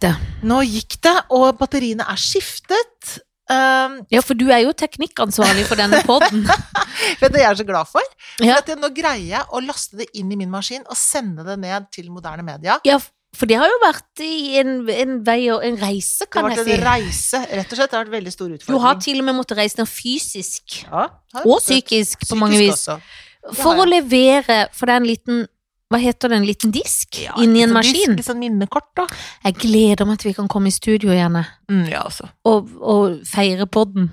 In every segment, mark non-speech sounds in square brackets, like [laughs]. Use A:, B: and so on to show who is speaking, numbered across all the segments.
A: det.
B: Nå gikk det, og batteriene er skiftet. Um,
A: Ja, for du er jo teknikkansvarlig for denne
B: [laughs]
A: poden.
B: vet du hva jeg er så glad for?
A: Ja.
B: At jeg nå greier jeg å laste det inn i min maskin og sende det ned til moderne media.
A: Ja, for det har jo vært i en, en vei og en reise,
B: Det
A: kan
B: har
A: jeg
B: vært
A: si.
B: en reise, rett og slett. Det har vært veldig stor
A: Du
B: utfordring.
A: har til og med måttet reise ned fysisk.
B: ja, har
A: Og
B: vært-
A: psykisk, på
B: psykisk
A: mange vis.
B: også.
A: For
B: har
A: å levere For det er en liten hva heter det, en liten disk
B: Ja,
A: inni en
B: litt sånn
A: maskin?
B: disk, Litt sånn minnekort, da.
A: Jeg gleder meg til vi kan komme i studio igjen jeg.
B: Mm, ja, altså.
A: og, og feire podden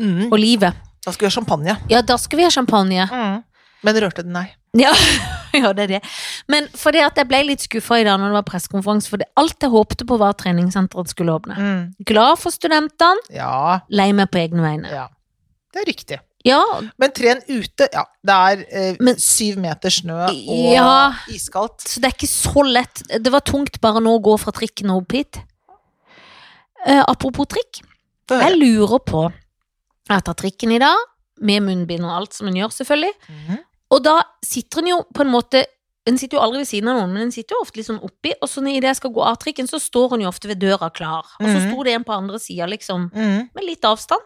B: Mm.
A: og livet.
B: Da skal vi ha champagne.
A: Ja, da skal vi ha champagne.
B: Mm. Men rørte den, nei.
A: Ja, [laughs] ja det er det. Men for det at jeg ble litt skuffa i dag når det var pressekonferanse, for det, alt jeg håpte på var at treningssenteret skulle åpne.
B: Mm.
A: Glad for studentene,
B: Ja,
A: lei meg på egne vegne.
B: ja. Det er riktig.
A: Ja,
B: Men tren ute, ja. Det er eh,
A: Men-
B: syv meter snø og
A: Ja.
B: iskaldt.
A: så det er ikke så lett. Det var tungt bare nå å gå fra trikken og opp hit. Eh, apropos trikk,
B: Få høre.
A: jeg lurer på Jeg tar trikken i dag, med munnbind og alt som en gjør, selvfølgelig.
B: Mhm.
A: Og da sitter en jo på en måte En sitter jo aldri ved siden av noen, men en sitter jo ofte litt sånn oppi. Og så idet jeg skal gå av trikken, så står hun jo ofte ved døra klar. Og så
B: Mhm.
A: sto det en på andre sida, liksom,
B: Mhm.
A: med litt avstand,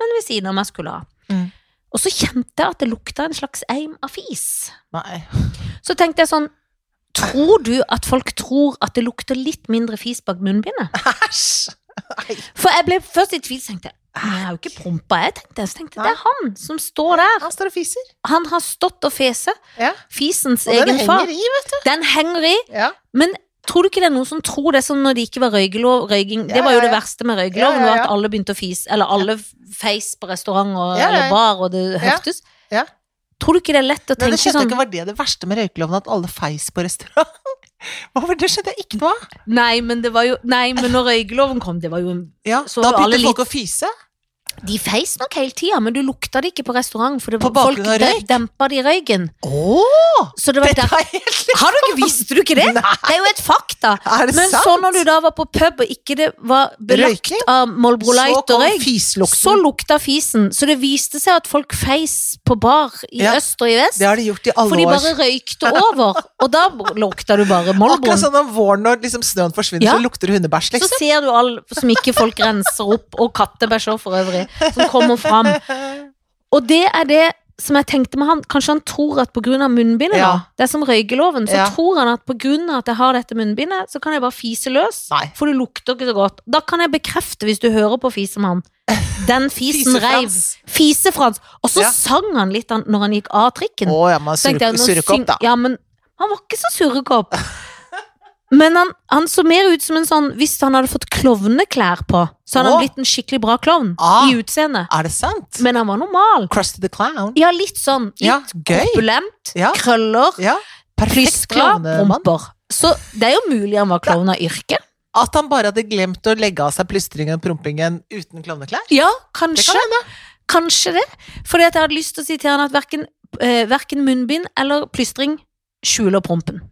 A: men ved siden av meg skulle ha.
B: Mhm.
A: Og så kjente jeg at det lukta en slags eim av fis.
B: Nei.
A: Så tenkte jeg sånn Tror du at folk tror at det lukter litt mindre fis bak munnbindet?
B: Æsj! Nei.
A: For jeg ble først i tvil, så tenkte jeg. Men jeg er jo ikke prompa, jeg, tenkte jeg. Så tenkte jeg, det er han som står der.
B: Han står og fiser.
A: Han har stått og fese.
B: Ja.
A: Fisens
B: Og den
A: egen far.
B: henger i, vet
A: Den henger i.
B: du. Ja.
A: Men tror du ikke det er noen som tror det, som når det ikke var røykelov røyking,
B: Ja,
A: Det var jo
B: ja,
A: det
B: ja.
A: verste med røykeloven,
B: Ja, ja,
A: var
B: ja.
A: at alle begynte å fise, eller alle feis på restaurant og,
B: Ja, ja, ja.
A: eller bar, og det hørtes.
B: ja.
A: Tror du ikke det er lett å
B: Men
A: tenke
B: det skjønte jeg
A: sånn
B: ikke var det det verste med røykeloven, at alle feis på restaurant. [laughs] Hvorfor? Det skjønte jeg ikke noe av.
A: Nei, men det var jo Nei, men når røykeloven kom, det var jo
B: Ja,
A: Så
B: da
A: var alle
B: begynte folk å fise.
A: De feis nok hele tida, men du lukta det ikke på restaurant, for det,
B: På
A: folk
B: bakgrunn av
A: de-
B: røyk?
A: dempa de røyken.
B: Åh,
A: Så det var
B: dette
A: der
B: er helt [laughs]
A: Har du ikke Visste du ikke det?
B: Nei.
A: Det er jo et fakta.
B: Er det
A: Men
B: sant?
A: så når du da var på pub, og ikke det var belagt
B: Røyking?
A: av Molbro Light og røyk Så
B: fislukten.
A: lukta fisen. Så det viste seg at folk feis på bar i
B: Ja,
A: øst og i vest.
B: Det har de gjort i
A: for
B: alle
A: de
B: år.
A: bare røykte over. Og da lukta du bare
B: Akkurat
A: Molbroen.
B: sånn om våren når liksom snøen forsvinner,
A: Ja.
B: så lukter det hundebæsj,
A: Så
B: liksom.
A: ser du all som ikke folk renser opp, og kattebæsj også for øvrig, som kommer fram. Og det er det som jeg tenkte med han. Kanskje han tror at pga. munnbindet,
B: Ja.
A: da. Det er som røykeloven. Så
B: Ja.
A: tror han at pga. at jeg har dette munnbindet, så kan jeg bare fise løs.
B: Nei.
A: For det lukter ikke så godt. Da kan jeg bekrefte, hvis du hører på fisemann,
B: [laughs]
A: den fisen reiv.
B: Fisefrans.
A: Fisefrans. Og så
B: Ja.
A: sang han litt an- når han gikk av trikken.
B: Å ja, man
A: Så tenkte jeg,
B: surrer
A: nå
B: surrekopp,
A: syng-
B: da.
A: Ja, men han var ikke så surrekopp. [laughs] Men han, han så mer ut som en sånn Hvis han hadde fått klovneklær på, så hadde
B: Å.
A: han blitt en skikkelig bra klovn
B: Ah.
A: i utseendet.
B: Er det sant?
A: Men han var normal.
B: Crusty the Clown.
A: Ja, litt sånn. Litt
B: Ja, gøy.
A: opulent.
B: Ja.
A: Krøller.
B: Ja. Perfekt
A: Plystra.
B: klovnemann.
A: Rumper. Så det er jo mulig han var klovn av yrke.
B: At han bare hadde glemt å legge av seg plystringen og prompingen uten klovneklær?
A: Ja,
B: Det
A: kanskje.
B: kan hende.
A: Kanskje det. Fordi at jeg hadde lyst til å sitere at verken, eh, verken munnbind eller plystring skjuler prompen.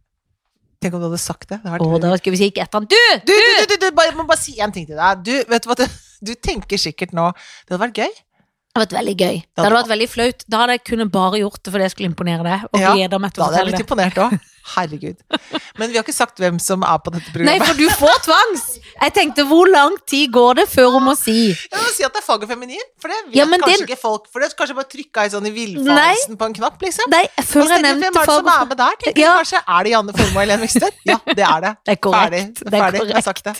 B: Tenk om du hadde sagt det. det hadde vært
A: Og da skal vi si ikke etter han. Du!
B: Du, du, du, du, du bare, jeg må bare si en ting til deg. Du, vet du hva, du, du tenker sikkert nå Det hadde vært gøy.
A: Det hadde vært veldig gøy. Det hadde vært veldig flaut. Da hadde jeg kunnet bare gjort det fordi jeg skulle imponere deg. Og
B: Ja,
A: gleder meg til å
B: Da hadde jeg
A: fortelle
B: blitt
A: det.
B: imponert òg. Herregud. Men vi har ikke sagt hvem som er på dette
A: Nei,
B: programmet.
A: for du får tvangs! Jeg tenkte, hvor lang tid går det før hun må si?
B: Jeg må si at det er fag og feminin, for det vet
A: Ja, men
B: kanskje
A: det-
B: ikke folk. For det er kanskje bare trykka i sånn i villfarelsen på en knapp, liksom.
A: Nei, før jeg
B: Og så tenker jeg,
A: nevnte
B: hvem er det som er
A: fag...
B: med der? Tenker jeg
A: Ja.
B: kanskje, Er det Janne Formoe og Helen Vikstøl? Ja, det er det.
A: Det er
B: Ferdig.
A: korrekt. Det er
B: Ferdig. Jeg har
A: korrekt.
B: sagt det.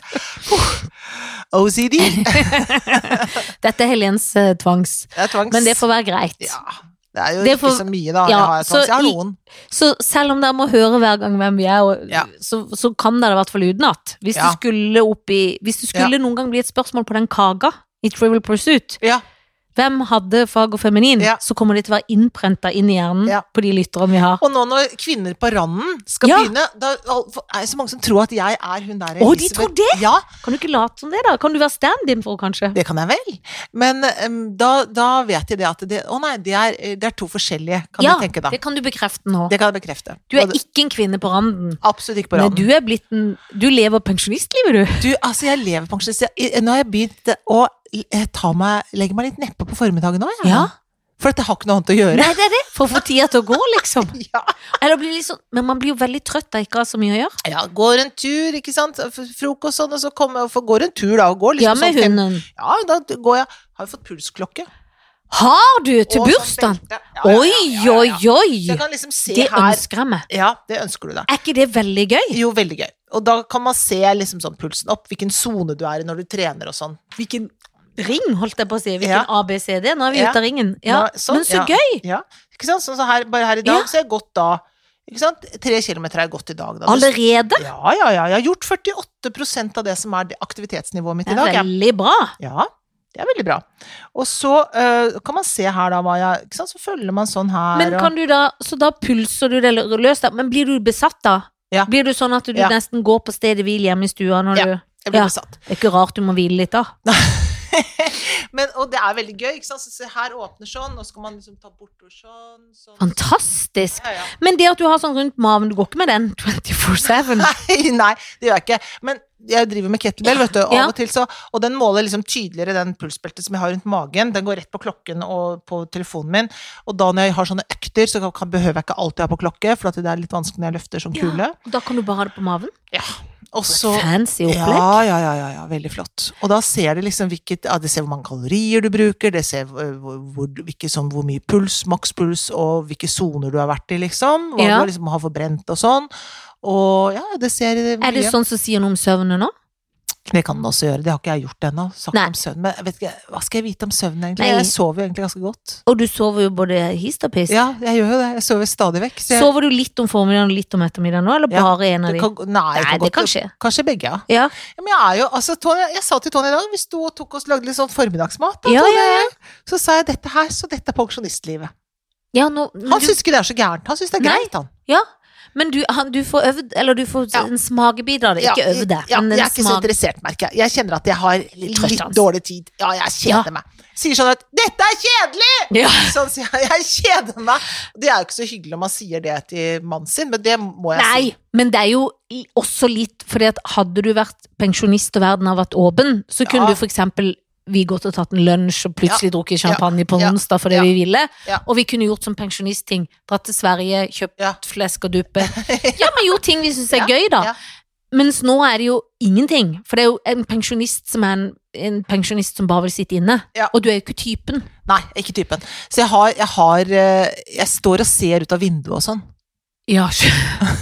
B: Puh. OCD. Det
A: Dette er Helens eh, tvangs.
B: er tvangs.
A: Men det får være greit.
B: Ja. Det er jo
A: Det
B: ikke
A: får-
B: så mye, da.
A: Ja,
B: jeg, har
A: så
B: tvangs. jeg har
A: i-
B: noen.
A: Så selv om dere må høre hver gang hvem vi er, og,
B: Ja.
A: så, så kan dere i hvert fall utenat. Hvis
B: Ja.
A: det skulle, opp i- hvis det skulle noen gang bli et spørsmål på den kaga i Trivial Pursuit
B: Ja.
A: Hvem hadde fag og feminin?
B: Ja.
A: Så kommer det til å være innprenta inn i hjernen
B: Ja.
A: på de lytterne vi har.
B: Og nå når kvinner på randen skal
A: Ja.
B: begynne da, al- for- Er det så mange som tror at jeg er hun der
A: Å, de tror det?
B: Ja,
A: Kan du ikke late som det, da? Kan du være stand-in for henne, kanskje?
B: det kan jeg vel. Men em, da, da vet jeg det at det Å nei, det er, det er to forskjellige, kan
A: ja,
B: du tenke da.
A: det kan du bekrefte nå.
B: Det kan jeg bekrefte.
A: Du er
B: Og det-
A: ikke en kvinne på randen.
B: Absolutt ikke på
A: Nei,
B: randen.
A: du er blitt en Du lever pensjonistlivet, du.
B: Du, altså, jeg lever pensjonist. Jeg- Nå har jeg begynt å eh, ta meg, legge meg litt nedpå på formiddagen òg, jeg.
A: Ja.
B: For dette har ikke noe annet å gjøre.
A: Nei, det er det. For å få tida til å gå, liksom.
B: [laughs] Ja.
A: Eller blir litt sånn, men man blir jo veldig trøtt av ikke å ha så mye å gjøre.
B: ja, går en tur, ikke sant. F- Frokost sånn, og så kommer jeg og får- går en tur, da. Og går liksom
A: Ja, med
B: sånn fem-
A: hunden.
B: Ja, da går jeg. Har jo fått pulsklokke.
A: Har du til
B: Og sånn
A: bursdagen?
B: belte. Ja, ja,
A: Oi,
B: ja, ja,
A: oi,
B: ja. Så
A: oi!
B: jeg kan liksom se
A: Det
B: her.
A: ønsker jeg meg.
B: Ja, det ønsker du da.
A: Er ikke det veldig gøy?
B: Jo, veldig gøy. Og da kan man se liksom sånn pulsen opp, hvilken sone du er i når du trener og sånn.
A: Hvilken ring, holdt jeg på å si.
B: Ja.
A: Hvilken ABCD. Nå er vi
B: Ja.
A: ute av ringen. Ja.
B: Nå- sånn,
A: Men så
B: ja.
A: gøy!
B: Ja, ikke sant? Sånn så her, bare her i dag,
A: Ja.
B: så har jeg gått da ikke sant? Tre kilometer har jeg gått i dag. Da.
A: Allerede?
B: Ja, ja, ja. Jeg har gjort 48 av det som er det aktivitetsnivået mitt
A: Det
B: i
A: er
B: dag. jeg.
A: veldig bra.
B: Ja, det er veldig bra. Og så eh, kan man se her da, Maja. Ikke sant? Så følger man sånn her.
A: Men kan
B: og...
A: du da, så da pulser du det lø- løs da, men blir du besatt da?
B: Ja.
A: Blir du sånn at du
B: Ja.
A: nesten går på stedet hvil hjemme i stua når
B: Ja.
A: du
B: Jeg blir
A: ja.
B: besatt. [laughs]
A: Det er ikke rart du må hvile litt da.
B: Men, og det er veldig gøy, ikke sant? Så se her åpner sånn, og så kan man liksom ta bortover sånn. sånn.
A: Fantastisk!
B: Ja, [laughs] ja.
A: Men det at du har sånn rundt maven, du går ikke med den 24-7.
B: Nei, nei, det gjør jeg ikke. Men jeg driver med kettlebell, vet du. Av
A: Ja.
B: og til så Og den måler liksom tydeligere den pulsbeltet som jeg har rundt magen. Den går rett på klokken og på telefonen min. Og da når jeg har sånne økter, så kan, kan, behøver jeg ikke alltid ha på klokke, for at det er litt vanskelig når jeg løfter sånn kule.
A: og Da kan du bare ha det på maven.
B: Og så
A: Fancy
B: ja,
A: opplegg.
B: ja, ja, ja, ja, veldig flott. Og da ser det liksom hvilket ja, Det ser hvor mange kalorier du bruker, det ser eh, hvor, hvor, hvilke, sånn, hvor mye puls, makspuls, og hvilke soner du har vært i, liksom. Hva
A: Ja.
B: du liksom har forbrent og sånn. Og ja, det ser
A: Er det sånn som sier noe om søvnen nå?
B: Det kan den også gjøre. Det har ikke jeg gjort ennå. Sagt
A: Nei.
B: om søvn. Men jeg vet ikke, hva skal jeg vite om søvn, egentlig?
A: Nei.
B: Jeg sover jo egentlig ganske godt.
A: Og du sover jo både hist og pist.
B: Ja, jeg gjør jo det. Jeg sover stadig vekk. Så jeg,
A: Sover du litt om formiddagen og litt om ettermiddagen nå, eller
B: Ja,
A: bare en av
B: det
A: de?
B: kan, nei, jeg
A: Nei,
B: kan
A: det
B: godt,
A: kan skje.
B: kanskje begge, ja.
A: Ja.
B: ja. Men jeg er jo altså, Tony, Jeg sa til Tony i dag vi sto og tok oss lagde litt sånn formiddagsmat. Da,
A: Ja,
B: Tony,
A: ja,
B: og jeg. Så sa jeg dette her, så dette er pensjonistlivet.
A: Ja, nå,
B: Han
A: du-
B: syns ikke det er så gærent. Han syns det er
A: Nei.
B: greit, han.
A: Ja, men du, han, du får øvd, eller du får
B: Ja.
A: en smakebit av det. Ikke
B: Ja,
A: øvd det,
B: Ja,
A: men
B: jeg
A: en
B: er ikke så
A: smak.
B: interessert, merker jeg. Jeg kjenner at jeg har litt,
A: trøtt, altså.
B: dårlig tid. Ja, jeg kjeder meg. Sier sånn at 'dette er kjedelig'!
A: Ja.
B: Sånn sier jeg. Jeg kjeder meg. Det er jo ikke så hyggelig om man sier det til mannen sin, men det må jeg si.
A: Nei, men det er jo i- også litt fordi at hadde du vært pensjonist og verden har vært åpen, så
B: Ja.
A: kunne du for eksempel vi gått og tatt en lunsj og plutselig drukket champagne på
B: Ja.
A: onsdag fordi
B: Ja.
A: vi ville.
B: Ja.
A: Og vi kunne gjort som pensjonistting. Dratt til Sverige, kjøpt
B: Ja.
A: flesk og
B: [laughs]
A: duppe. Ja, men gjort ting vi syns er
B: Ja,
A: gøy, da.
B: ja.
A: Mens nå er det jo ingenting. For det er jo en pensjonist som er en, en pensjonist som bare vil sitte inne.
B: Ja.
A: Og du er jo ikke typen.
B: Nei, ikke typen. Så jeg har, jeg har eh, Jeg står og ser ut av vinduet og sånn.
A: Ja, skj- [laughs]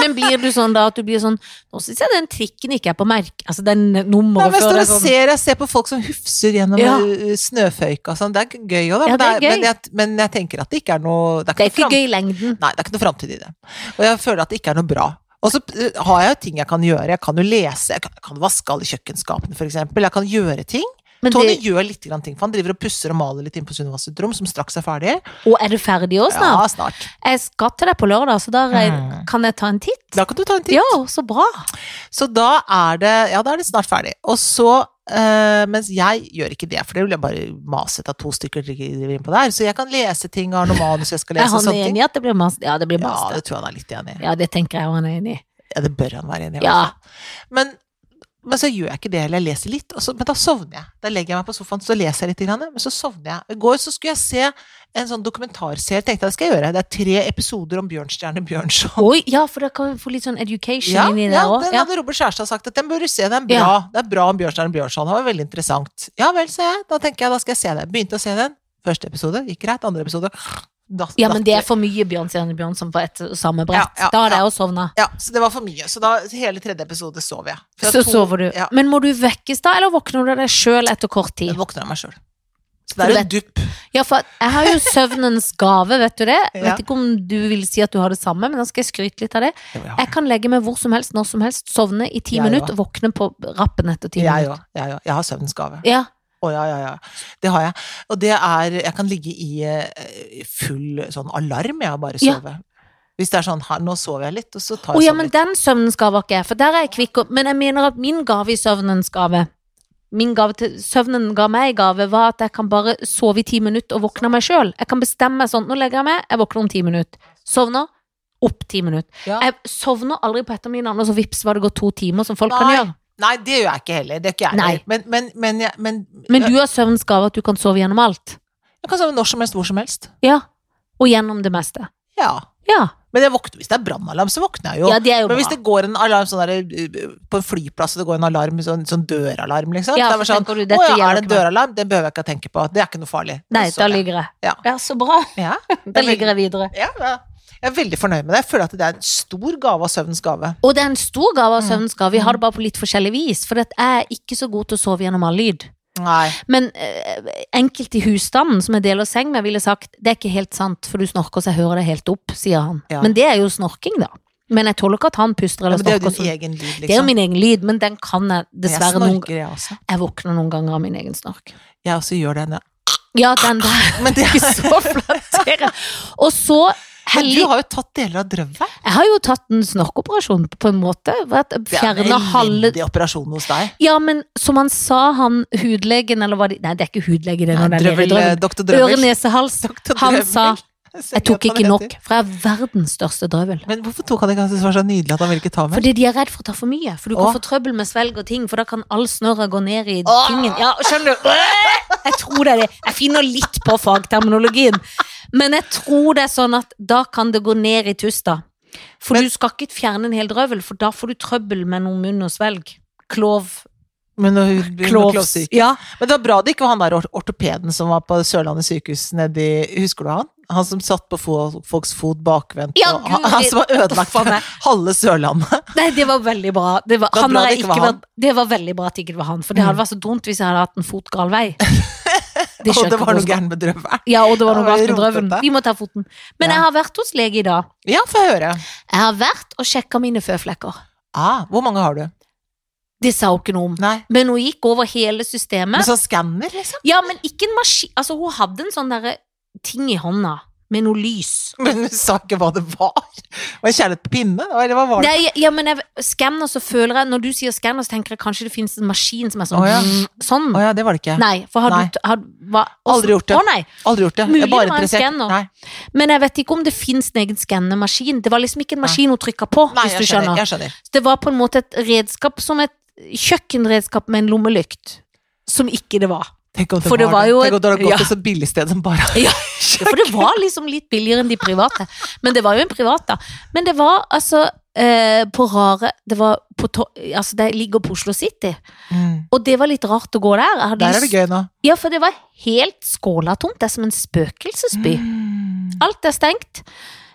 A: Men blir du sånn da at du blir sånn Nå syns jeg den trikken ikke er på merke Altså den
B: Nei,
A: nummeret
B: men jeg
A: før
B: står
A: det
B: og
A: er sånn
B: ser, jeg ser på folk som hufser gjennom
A: Ja.
B: eh, snøføyka og sånn. Det er gøy òg, da.
A: Ja,
B: men,
A: det er
B: men, jeg, men jeg tenker at det ikke er noe Det er
A: Det er
B: ikke,
A: ikke
B: noe fram-
A: gøy i lengden.
B: Nei, det er ikke noe framtid i det. Og jeg føler at det ikke er noe bra. Og så eh, har jeg jo ting jeg kan gjøre. Jeg kan jo lese, jeg kan, jeg kan vaske alle kjøkkenskapene, for eksempel. Jeg kan gjøre ting.
A: Men det,
B: Tony gjør litt grann ting, for han driver og pusser og maler litt inn på Sunniva sitt rom, som straks er ferdig.
A: og er du ferdig òg snart?
B: Ja, snart.
A: Jeg skal til deg på lørdag, så da regn-
B: Mm.
A: kan jeg ta en titt?
B: Da kan du ta en titt.
A: Ja, så bra.
B: Så da er det Ja, da er det snart ferdig. Og så eh, mens jeg gjør ikke det, for det vil jeg bare mase av to stykker driver inn på der. Så jeg kan lese ting, har noe manus jeg skal
A: Er
B: lese og
A: han
B: sånne
A: enig
B: ting.
A: i at det blir mas? Ja, det blir
B: Ja,
A: mas.
B: det tror jeg han er litt enig i.
A: Ja, det tenker jeg han er enig i.
B: Ja, det bør han være enig i. i
A: Ja.
B: hvert fall. Men, men så gjør jeg ikke det, eller jeg leser litt, og så, men da sovner jeg. Da legger jeg meg på sofaen, så leser jeg litt, grann, men så sovner jeg. I går så skulle jeg se en sånn dokumentarserie, tenkte jeg det skal jeg gjøre. Det er tre episoder om Bjørnstjerne Bjørnson.
A: Oi, ja, for da kan vi få litt sånn education
B: Ja,
A: inn i det
B: ja,
A: òg.
B: den
A: Ja.
B: hadde Robert Skjærstad sagt at den bør du se, den er bra. Det er bra om Bjørnstjerne Bjørnson, det var veldig interessant. Ja vel, sa jeg. Da tenker jeg, da skal jeg se den. Begynte å se den. Første episode, gikk greit. Andre episode da-
A: ja, men det
B: datt-
A: er for mye Bjørnstjerne Bjørnson på ett og samme brett.
B: Ja, ja,
A: Da hadde
B: ja.
A: jeg òg sovna.
B: Ja, så det var for mye. Så da, hele tredje episode sov jeg. Fra
A: Så
B: to-
A: sover du.
B: Ja,
A: Men må du vekkes da, eller våkner du av deg sjøl etter kort tid?
B: jeg våkner av meg sjøl. Så
A: For
B: det
A: du
B: er en dupp.
A: Ja, for at jeg har jo søvnens gave, vet du det? Jeg
B: Ja.
A: vet ikke om du vil si at du har det samme, men da skal jeg skryte litt av det. Jeg kan legge meg hvor som helst, når som helst, sovne i ti
B: Jeg
A: minutter, våkne på rappen etter ti
B: Jeg
A: minutter.
B: òg. Jeg, òg. jeg har søvnens gave.
A: Ja,
B: Å, ja, ja, ja. Det har jeg. Og det er Jeg kan ligge i eh, full sånn alarm, jeg, og bare
A: Ja.
B: sove. Hvis det er sånn her, nå sover jeg litt, og så tar
A: Å
B: jeg
A: ja,
B: sånn
A: men
B: litt.
A: den søvnens gave har ikke jeg, for der er jeg kvikk opp. Men jeg mener at min gave i søvnens gave Min gave til søvnen ga meg i gave, var at jeg kan bare sove i ti minutter og våkne av meg sjøl. Jeg kan bestemme meg sånn, nå legger jeg meg, jeg våkner om ti minutter. Sovner, opp ti minutter.
B: Ja.
A: Jeg sovner aldri på ettermiddagen, og så vips var det gått to timer, som folk kan
B: Nei.
A: gjøre.
B: Nei, det gjør jeg ikke heller. Det er ikke jeg
A: Nei.
B: heller. Men, men, men, jeg- men,
A: Men du har søvnsgave at du kan sove gjennom alt.
B: Du kan sove når som helst, hvor som helst.
A: Ja. Og gjennom det meste.
B: Ja.
A: Ja.
B: Men jeg våkner, hvis det er brannalarm, så våkner jeg jo.
A: ja det er jo
B: Men hvis
A: bra.
B: det går en alarm sånn der, eh, på en flyplass, og det går en alarm, sånn, sånn døralarm, liksom
A: Ja,
B: Det er bare
A: for
B: sånn,
A: tenker du,
B: Å
A: dette gjelder
B: ja, er det en
A: ikke meg.
B: døralarm? Det behøver jeg ikke å tenke på. Det er ikke noe farlig.
A: Nei,
B: Så
A: da
B: jeg-
A: ligger jeg.
B: Ja.
A: så bra.
B: Ja,
A: Da ligger jeg videre.
B: ja, ja. Jeg er veldig fornøyd med det. Jeg føler at det er en stor gave av søvnens gave.
A: Og det er en stor gave av
B: Mm.
A: søvnens gave. Vi har det bare på litt forskjellig vis. For at jeg er ikke så god til å sove gjennom all lyd.
B: Nei.
A: Men eh, enkelte i husstanden som jeg deler seng med, ville sagt det er ikke helt sant, for du snorker så jeg hører det helt opp, sier han.
B: Ja.
A: Men det er jo snorking, da. Men jeg tåler ikke at han puster
B: Ja,
A: eller
B: men det er jo
A: snorker.
B: din
A: så-
B: egen lyd, liksom.
A: Det er jo min egen lyd, men den kan jeg dessverre
B: jeg
A: noen
B: snorker, jeg også.
A: Jeg våkner noen ganger av min egen snork.
B: Jeg også gjør den, ja.
A: Ja, den der.
B: Men, det,
A: Ikke så [laughs] flattere. Og så
B: men
A: heldig
B: du har jo tatt deler av drømmen.
A: Jeg har jo tatt en snorkoperasjon på en måte.
B: Det er en
A: Fjerna halve
B: elendig operasjon hos deg.
A: Ja, men som han sa, han hudlegen, eller hva det Nei, det er ikke hudlege, det er noen
B: Drøvel, eh,
A: drøvel.
B: Dr.
A: Øre,
B: Drøvel.
A: nese,
B: [laughs]
A: hals.
B: Dr.
A: Han
B: Drøvel.
A: sa,
B: ser
A: Jeg
B: ikke
A: tok
B: hva han
A: ikke nok,
B: heter.
A: for jeg er verdens største drøvel.
B: Men hvorfor tok han ikke han syntes det var så nydelig at han ville ikke ta mer?
A: Fordi de er redd for å ta for mye, for du kan
B: Åh.
A: få trøbbel med svelg og ting, for da kan all snørra gå ned i
B: Åh.
A: tingen. Ja, skjønner du? Jeg tror det er det. Jeg finner litt på fagterminologien. Men jeg tror det er sånn at da kan det gå ned i tusta. For
B: Men-
A: du skal ikke fjerne en hel drøvel, for da får du trøbbel med noe munn og svelg. Klov.
B: Men, når hun- hun var
A: Klovs.
B: klovsyk.
A: Ja.
B: Men det var bra det ikke var han der or- ortopeden som var på Sørlandet sykehus nedi Husker du han? Han som satt på fo- folks fot bakvendt,
A: Ja,
B: og han,
A: Gud,
B: han
A: det-
B: som har ødelagt
A: Uff, a meg.
B: halve Sørlandet.
A: Nei, det var veldig bra. Det var,
B: Det var
A: han
B: bra
A: har
B: det
A: jeg
B: ikke var
A: ikke
B: han.
A: vært- det var veldig bra at det ikke var han, for det
B: [laughs]
A: hadde vært så dumt hvis jeg hadde hatt en fot gal vei. Det
B: [laughs] og
A: skjønner jeg
B: det var
A: ikke
B: noe
A: hvordan-
B: gærent med drøvelen.
A: Ja, og det var
B: Ja,
A: noe galt med
B: det var
A: drøven.
B: rotete.
A: Vi må ta foten. Men
B: Ja.
A: jeg har vært hos lege i dag.
B: Ja, få høre.
A: Jeg har vært og sjekka mine føflekker.
B: Ah, hvor mange har du?
A: Det sa hun ikke noe om.
B: Nei.
A: Men hun gikk over hele systemet.
B: Med sånn skanner, liksom? [laughs]
A: Ja, men ikke en maskin Altså, hun hadde en sånn derre ting i hånda med noe lys.
B: Men hun sa ikke hva det var. Var det kjærlighet på pinne? Eller hva var det?
A: Nei, ja, men jeg, skanner, så føler jeg Når du sier skanner, så tenker jeg kanskje det finnes en maskin som er sånn
B: Å, ja.
A: Sånn.
B: Å ja, det var det ikke.
A: Nei, for har
B: Nei.
A: du har, hva,
B: Aldri gjort det.
A: Å nei,
B: Aldri gjort det.
A: Mulig
B: Jeg er bare
A: det var en
B: interessert.
A: skanner.
B: Nei,
A: Men jeg vet ikke om det fins en egen skannemaskin. Det var liksom ikke en maskin hun trykka på.
B: Nei
A: hvis
B: jeg
A: du
B: skjønner.
A: skjønner.
B: Jeg skjønner.
A: Så Det var på en måte et redskap som et kjøkkenredskap med en lommelykt. Som ikke det var.
B: Tenk om det
A: For det var
B: var, det.
A: jo
B: Tenk om det
A: et-
B: hadde gått
A: ja.
B: til så billig sted som bare
A: Ja, Ja, for det var liksom litt billigere enn de private. Men det var jo en privat, da. Men det var altså eh, på rare Det var på to Altså, det ligger på Oslo City.
B: Mm.
A: Og det var litt rart å gå der. Jeg hadde
B: Der er det
A: lyst-
B: gøy nå.
A: Ja, for det var helt skålatomt. Det er som en spøkelsesby.
B: Mm.
A: Alt er stengt.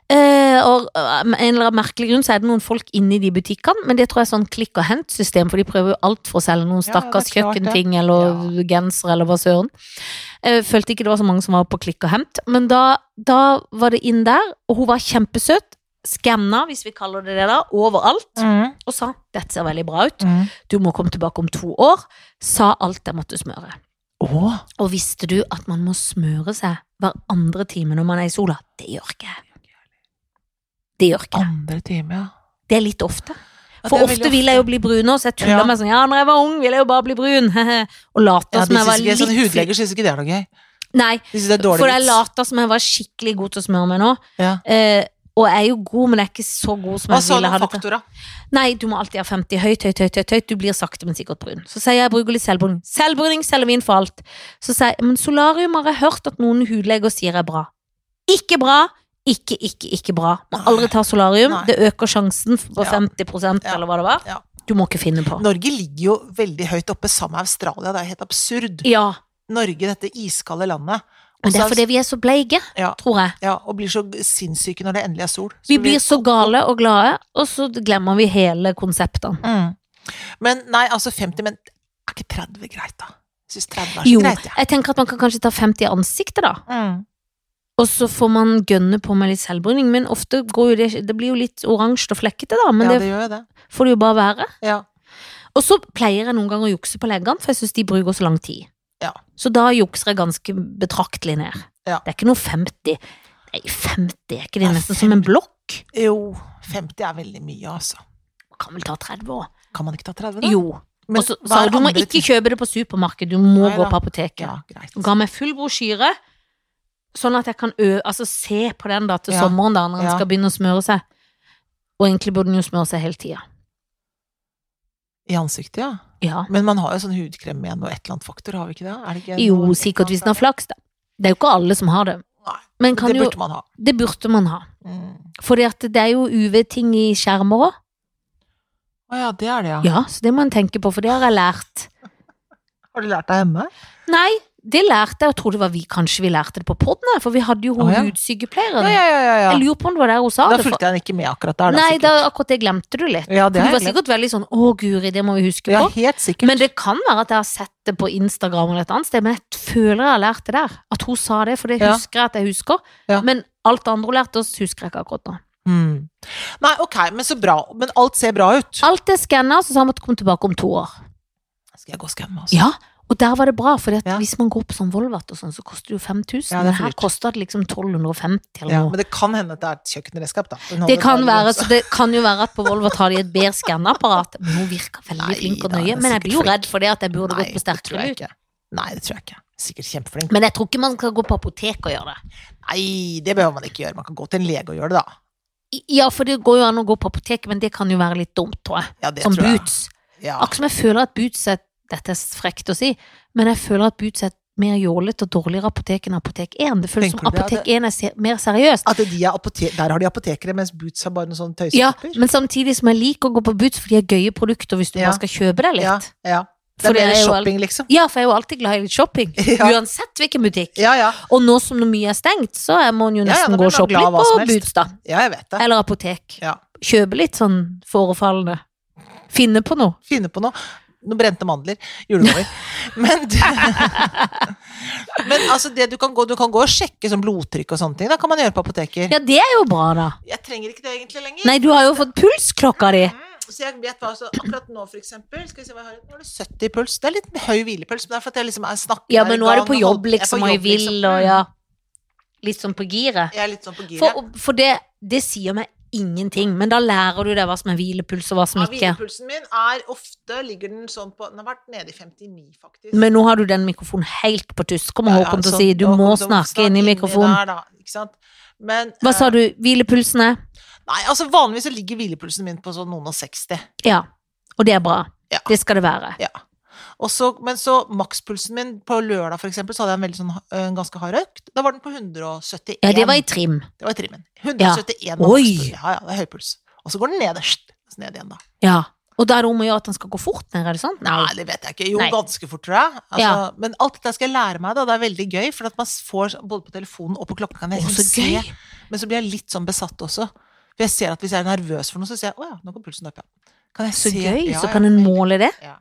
A: Eh, og av en eller annen merkelig grunn så er det noen folk inni de butikkene, men det tror jeg er sånn klikk og hent-system, for de prøver jo alt for å selge noen
B: Ja, ja,
A: stakkars
B: det er klart det.
A: kjøkkenting eller genser eller hva søren. Eh, følte ikke det var så mange som var på klikk og hent, men da, da var det inn der, og hun var kjempesøt. Skanna, hvis vi kaller det det, da, overalt,
B: Mm.
A: og sa 'dette ser veldig bra ut',
B: Mm.
A: 'du må komme tilbake om to år', sa alt jeg måtte smøre.
B: Å,
A: Og visste du at man må smøre seg hver andre time når man er i sola? Det gjør ikke jeg. Det gjør ikke jeg.
B: andre time, ja.
A: Det er litt ofte.
B: Ja,
A: For
B: det er veldig
A: ofte vil jeg jo bli brun også, så jeg tuller
B: Ja.
A: meg sånn Ja, når jeg var ung, ville jeg jo bare bli brun. [laughs] og later
B: Ja,
A: som
B: de
A: jeg
B: synes
A: var
B: ikke,
A: litt
B: sånne
A: fi-
B: hudleger syns ikke det er noe gøy.
A: Nei,
B: De syns det er dårlig
A: for jeg later som jeg var skikkelig god til å smøre meg nå.
B: Ja.
A: Eh, og jeg er jo god, men jeg er ikke så god som
B: Hva
A: jeg
B: sa
A: ville
B: noen
A: ha det til.
B: faktorer?
A: Nei, du må alltid ha 50 høyt, høyt, høyt, høyt, høyt. Du blir sakte, men sikkert brun. Så sier jeg, jeg bruker litt selvbruning. Selvbruning, selvvin for alt. Så sier jeg, men solarium har jeg hørt at noen hudleger sier er bra. Ikke bra, ikke, ikke, ikke bra. Må aldri ta solarium.
B: Nei.
A: Det øker sjansen på
B: Ja.
A: 50
B: Ja.
A: eller hva det var.
B: Ja.
A: Du må ikke finne på.
B: Norge ligger jo veldig høyt oppe sammen med Australia, det er helt absurd.
A: Ja,
B: Norge, dette iskalde landet.
A: men det
B: Og
A: er
B: så-
A: fordi vi er så bleike,
B: Ja.
A: tror jeg.
B: Ja, og blir så sinnssyke når det endelig er sol.
A: Vi blir så gale og glade, og så glemmer vi hele konseptene.
B: mm. Men nei, altså 50, men er ikke 30 greit, da? Jeg syns 30 er så
A: Jo,
B: greit, jeg.
A: jeg tenker at man kan kanskje ta 50 i ansiktet, da.
B: Mm.
A: Og så får man gønne på med litt selvbruning, men ofte går jo det, det blir jo litt oransje og flekkete, da, men
B: ja, det,
A: det,
B: gjør jo det.
A: får det jo bare være.
B: Ja.
A: Og så pleier jeg noen ganger å jukse på legene, for jeg syns de bruker så lang tid.
B: Ja.
A: Så da jukser jeg ganske betraktelig ned.
B: Ja.
A: Det er ikke noe 50. Nei, 50 er ikke det
B: Nei,
A: nesten som en blokk?
B: Jo, 50 er veldig mye, altså.
A: Man kan vel ta 30 år?
B: Kan man ikke ta 30, da?
A: Jo.
B: Men
A: Og så
B: hva
A: sa
B: er
A: hun, du må
B: andre
A: ikke
B: ting?
A: kjøpe det på supermarked, du må
B: Nei
A: gå
B: da.
A: på apoteket.
B: Ja, greit.
A: Hun ga meg full brosjyre, sånn at jeg kan ø altså, se på den da til
B: Ja.
A: sommeren, da, når en
B: Ja.
A: skal begynne å smøre seg. Og egentlig burde den jo smøre seg hele tida.
B: I ansiktet, ja.
A: Ja.
B: Men man har jo sånn hudkrem med noe et eller annet faktor, har vi ikke det? Er det ikke
A: Jo,
B: noe-
A: sikkert hvis den har flaks, da. Det er jo ikke alle som har det.
B: Nei,
A: Men kan
B: Det
A: jo,
B: burde man ha.
A: det burde man ha.
B: Mm.
A: Fordi at det er jo UV-ting i skjermer òg.
B: Å ja, det er det, ja.
A: Ja, så det må en tenke på, for det har jeg lært.
B: Har du lært deg hjemme?
A: Nei, det lærte jeg, og trodde det var vi kanskje vi lærte det på podden, for vi hadde jo hun
B: Å, ja.
A: hudsykepleieren.
B: Ja, ja, ja. ja, ja.
A: Sånn. Jeg lurer på om det var der hun sa
B: Da
A: det. for-
B: fulgte jeg den ikke med akkurat der. Da,
A: Nei,
B: sikkert.
A: da, akkurat det glemte du litt.
B: ja, det
A: For
B: er
A: du var
B: jeg
A: sikkert veldig sånn 'Å, Guri, det må vi huske
B: glemt. ja,
A: på'.
B: helt sikkert.
A: Men det kan være at jeg har sett det på Instagram eller et annet sted, men jeg føler jeg har lært det der. At hun sa det, for det
B: Ja.
A: husker jeg at jeg husker.
B: Ja.
A: Men alt det andre hun lærte oss, husker jeg ikke akkurat nå.
B: Mm. Nei, ok, men så bra. Men alt ser bra ut.
A: Alt er skanna, så sa han at komme tilbake om to år.
B: Skal jeg gå og skamme, altså?
A: Ja, og der var det bra, for
B: Ja.
A: hvis man går på sånn Volvat og sånn, så koster det jo 5000.
B: Ja, det er for
A: her
B: dyrt.
A: koster det liksom 1250 eller
B: Ja,
A: noe.
B: men det kan hende at det er et kjøkkenredskap, da. Hun
A: Det
B: holder
A: kan,
B: bare
A: være,
B: rundt,
A: så det kan jo være at på Volvat har de et bedre skanneapparat. Men hun virker veldig
B: Nei,
A: flink og
B: da,
A: nøye.
B: det er
A: Men jeg
B: sikkert
A: blir jo
B: flink.
A: redd for det at jeg burde
B: Nei,
A: gått på
B: det tror
A: sterkere
B: jeg
A: lut.
B: ikke. Nei, det tror jeg ikke. Sikkert kjempeflink.
A: Men jeg tror ikke man skal gå på apotek og gjøre det.
B: Nei, det behøver man ikke gjøre. Man kan gå til en lege og gjøre det, da.
A: I- Ja, for det går jo an å gå på apoteket, men det kan jo være litt dumt, tror jeg.
B: Ja, det
A: Som
B: tror jeg.
A: Boots.
B: Ja.
A: Akkurat som jeg føler at Boots er Dette er frekt å si, men jeg føler at Boots er et mer jålete og dårligere apotek enn Apotek 1. Det føles
B: Tenker
A: som
B: du det?
A: Apotek 1 er se- mer seriøst.
B: At de er apote- Der har de apotekere, mens Boots har bare noen sånne
A: Ja,
B: tøysekopper.
A: men samtidig som jeg liker å gå på Boots, for de har gøye produkter hvis du
B: Ja.
A: bare skal kjøpe deg
B: ja,
A: litt.
B: ja. Det
A: For
B: er
A: det
B: mer
A: er jo alt-
B: shopping, liksom.
A: Ja, for jeg er jo alltid glad i litt shopping.
B: [laughs] Ja.
A: Uansett hvilken butikk.
B: Ja, ja.
A: Og nå som noe mye er stengt, så er- må en jo
B: Ja,
A: nesten
B: ja, da
A: gå
B: blir
A: og
B: man
A: shoppe
B: glad
A: litt
B: av hva
A: på
B: som helst.
A: Boots, da.
B: Ja, jeg vet det.
A: Eller apotek.
B: Ja.
A: Kjøpe litt sånn forefallende. Finne på noe.
B: finne på noe. Noen brente mandler.
A: [laughs]
B: Julegaver. Men, du, men altså det du kan gå Du kan gå og sjekke sånn blodtrykk og sånne ting. Da kan man gjøre på apoteker.
A: Ja, det er jo bra, da.
B: Jeg trenger ikke det egentlig lenger.
A: Nei, du har jo fått pulsklokka di.
B: Mm, Så jeg vet hva, så akkurat nå, for eksempel Skal vi se hva jeg har Nå er det 70 i puls. Det er litt høy hvilepuls, men det er for at jeg liksom er snakker
A: Ja,
B: her
A: men
B: i
A: nå er
B: gang
A: du på
B: og
A: jobb,
B: holder- jeg er på
A: liksom, og i
B: jobb, liksom.
A: vill, og ja. Litt sånn på giret.
B: Jeg er litt sånn på giret.
A: For, for det, det sier meg ingenting, men da lærer du deg hva som er hvilepuls, og hva som
B: Ja,
A: ikke.
B: hvilepulsen min er ofte Ligger den sånn på Den har vært nede i 59, faktisk.
A: Men nå har du den mikrofonen helt på tuss. Kommer
B: Ja, ja,
A: Håkon til å
B: sånn,
A: si du
B: da
A: må
B: kommer det å
A: snakke inn i
B: inni
A: mikrofonen.
B: der, da, ikke sant? Men,
A: Hva sa du? Hvilepulsen er?
B: Nei, altså vanligvis så ligger hvilepulsen min på sånn noen og 60.
A: Ja. Og det er bra.
B: Ja.
A: Det skal det være.
B: Ja. Og så, men så makspulsen min på lørdag for eksempel, så hadde jeg en, veldig sånn, øh, en ganske hard økt. Da var den på 171.
A: Ja, det var i trim.
B: Det var i trimmen. 171
A: Oi!
B: makspuls. Ja, ja, det er høy puls. Og så går den ned, så ned igjen da.
A: Ja. Og da er det om å gjøre at den skal gå fort ned, er det sant?
B: Nei, det vet jeg ikke. Jo,
A: Nei.
B: ganske fort, tror jeg. Altså,
A: Ja.
B: Men alt dette skal jeg lære meg, da. Det er veldig gøy, for at man får både på telefonen og på klokka kan jeg
A: Å, så
B: liksom
A: gøy.
B: se. Men så blir jeg litt sånn besatt også. For jeg ser at hvis jeg er nervøs for noe, så ser jeg å ja, nå går pulsen opp, ja. Kan jeg
A: Så
B: se-
A: gøy.
B: Ja,
A: Så
B: ja,
A: kan en
B: helt
A: måle det.
B: Ja.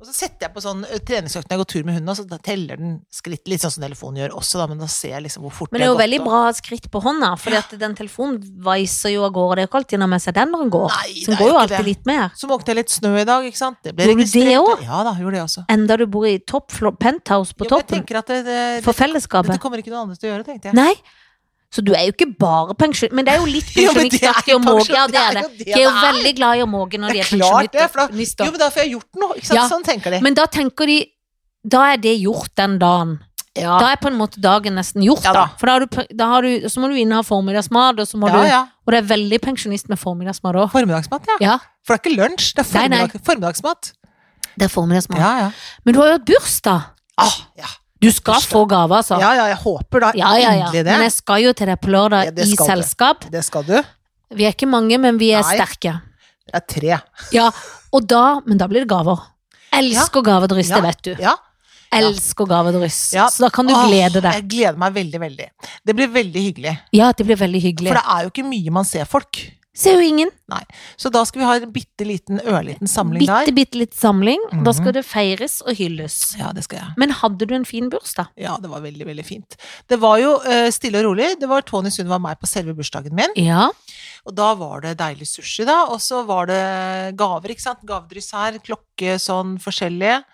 B: Og så setter jeg på sånn ø, treningsøkt når jeg går tur med hunden, og så da teller den skritt litt sånn som telefonen gjør også, da, men da ser jeg liksom hvor fort
A: Men det er jo
B: jeg har
A: veldig
B: gått, og-
A: bra skritt på hånda, for den telefonen viser jo av gårde. Det er jo ikke alltid den har med seg den når den går.
B: Nei, det
A: Så den
B: er
A: går jo
B: ikke
A: alltid
B: det.
A: litt mer.
B: Så måkte jeg litt snø i dag, ikke sant? Det ble
A: Gjorde du det
B: registrert.
A: også?
B: Ja da, gjorde det også.
A: Enda du bor i topp flo- penthouse på
B: Jo, men jeg
A: toppen
B: tenker at det, det,
A: for
B: det, dette
A: fellesskapet.
B: kommer ikke noen andre til å gjøre, tenkte jeg.
A: Nei. Så du er jo ikke bare pensjon... Men det er jo
B: [laughs]
A: litt
B: Jo, men det er
A: pensjonistaktig å
B: jo
A: måke. Ja,
B: pensjon-
A: det er det.
B: jo
A: De er jo
B: det
A: veldig glad i å måke når de
B: Det
A: er
B: er klart det, for da- Jo,
A: pensjonister.
B: men da får jeg gjort noe, ikke sant?
A: Ja.
B: Sånn tenker de.
A: Men da tenker de Da er det gjort den dagen.
B: ja.
A: Da er på en måte dagen nesten gjort,
B: Ja
A: da.
B: da.
A: For da har du, da har du, så må du inn og ha formiddagsmat, og så må
B: ja,
A: du
B: ja.
A: Og det er veldig pensjonist med formiddagsmat òg.
B: Formiddagsmat, ja.
A: Ja,
B: For det er ikke lunsj, det er
A: Nei, nei.
B: formiddag, formiddagsmat.
A: det er formiddagsmat.
B: Ja, ja.
A: Men du har jo hatt bursdag.
B: Ah, ja.
A: Du skal
B: Bursdag.
A: få gave, altså.
B: ja, ja, jeg håper da
A: ja, ja. ja.
B: endelig
A: Men jeg
B: det.
A: skal jo til deg på lørdag
B: Ja, det
A: i
B: skal du.
A: selskap.
B: Det skal du.
A: Vi er ikke mange, men vi er
B: Nei.
A: sterke.
B: Det er tre.
A: Ja, og da, men da blir det gaver. Elsker gavedryst, det
B: Ja.
A: vet du.
B: Ja,
A: Elsker gavedryst.
B: Ja.
A: Så da kan du
B: Åh,
A: glede deg.
B: Jeg gleder meg veldig, veldig. Det blir veldig hyggelig.
A: Ja, det blir veldig
B: For
A: hyggelig.
B: det er jo ikke mye man ser folk.
A: Ser jo ingen.
B: Så da skal vi ha en bitte liten, ørliten samling
A: Bitte,
B: der.
A: bitte litt samling. og Da
B: Mhm.
A: skal det feires og hylles.
B: Ja, det skal jeg.
A: Men hadde du en fin bursdag?
B: Ja, det var veldig, veldig fint. Det var jo eh, stille og rolig. Det var Tony Sund var meg på selve bursdagen min.
A: Ja.
B: Og da var det deilig sushi, da. Og så var det gaver, ikke sant. Gavedryss her, klokke sånn forskjellige.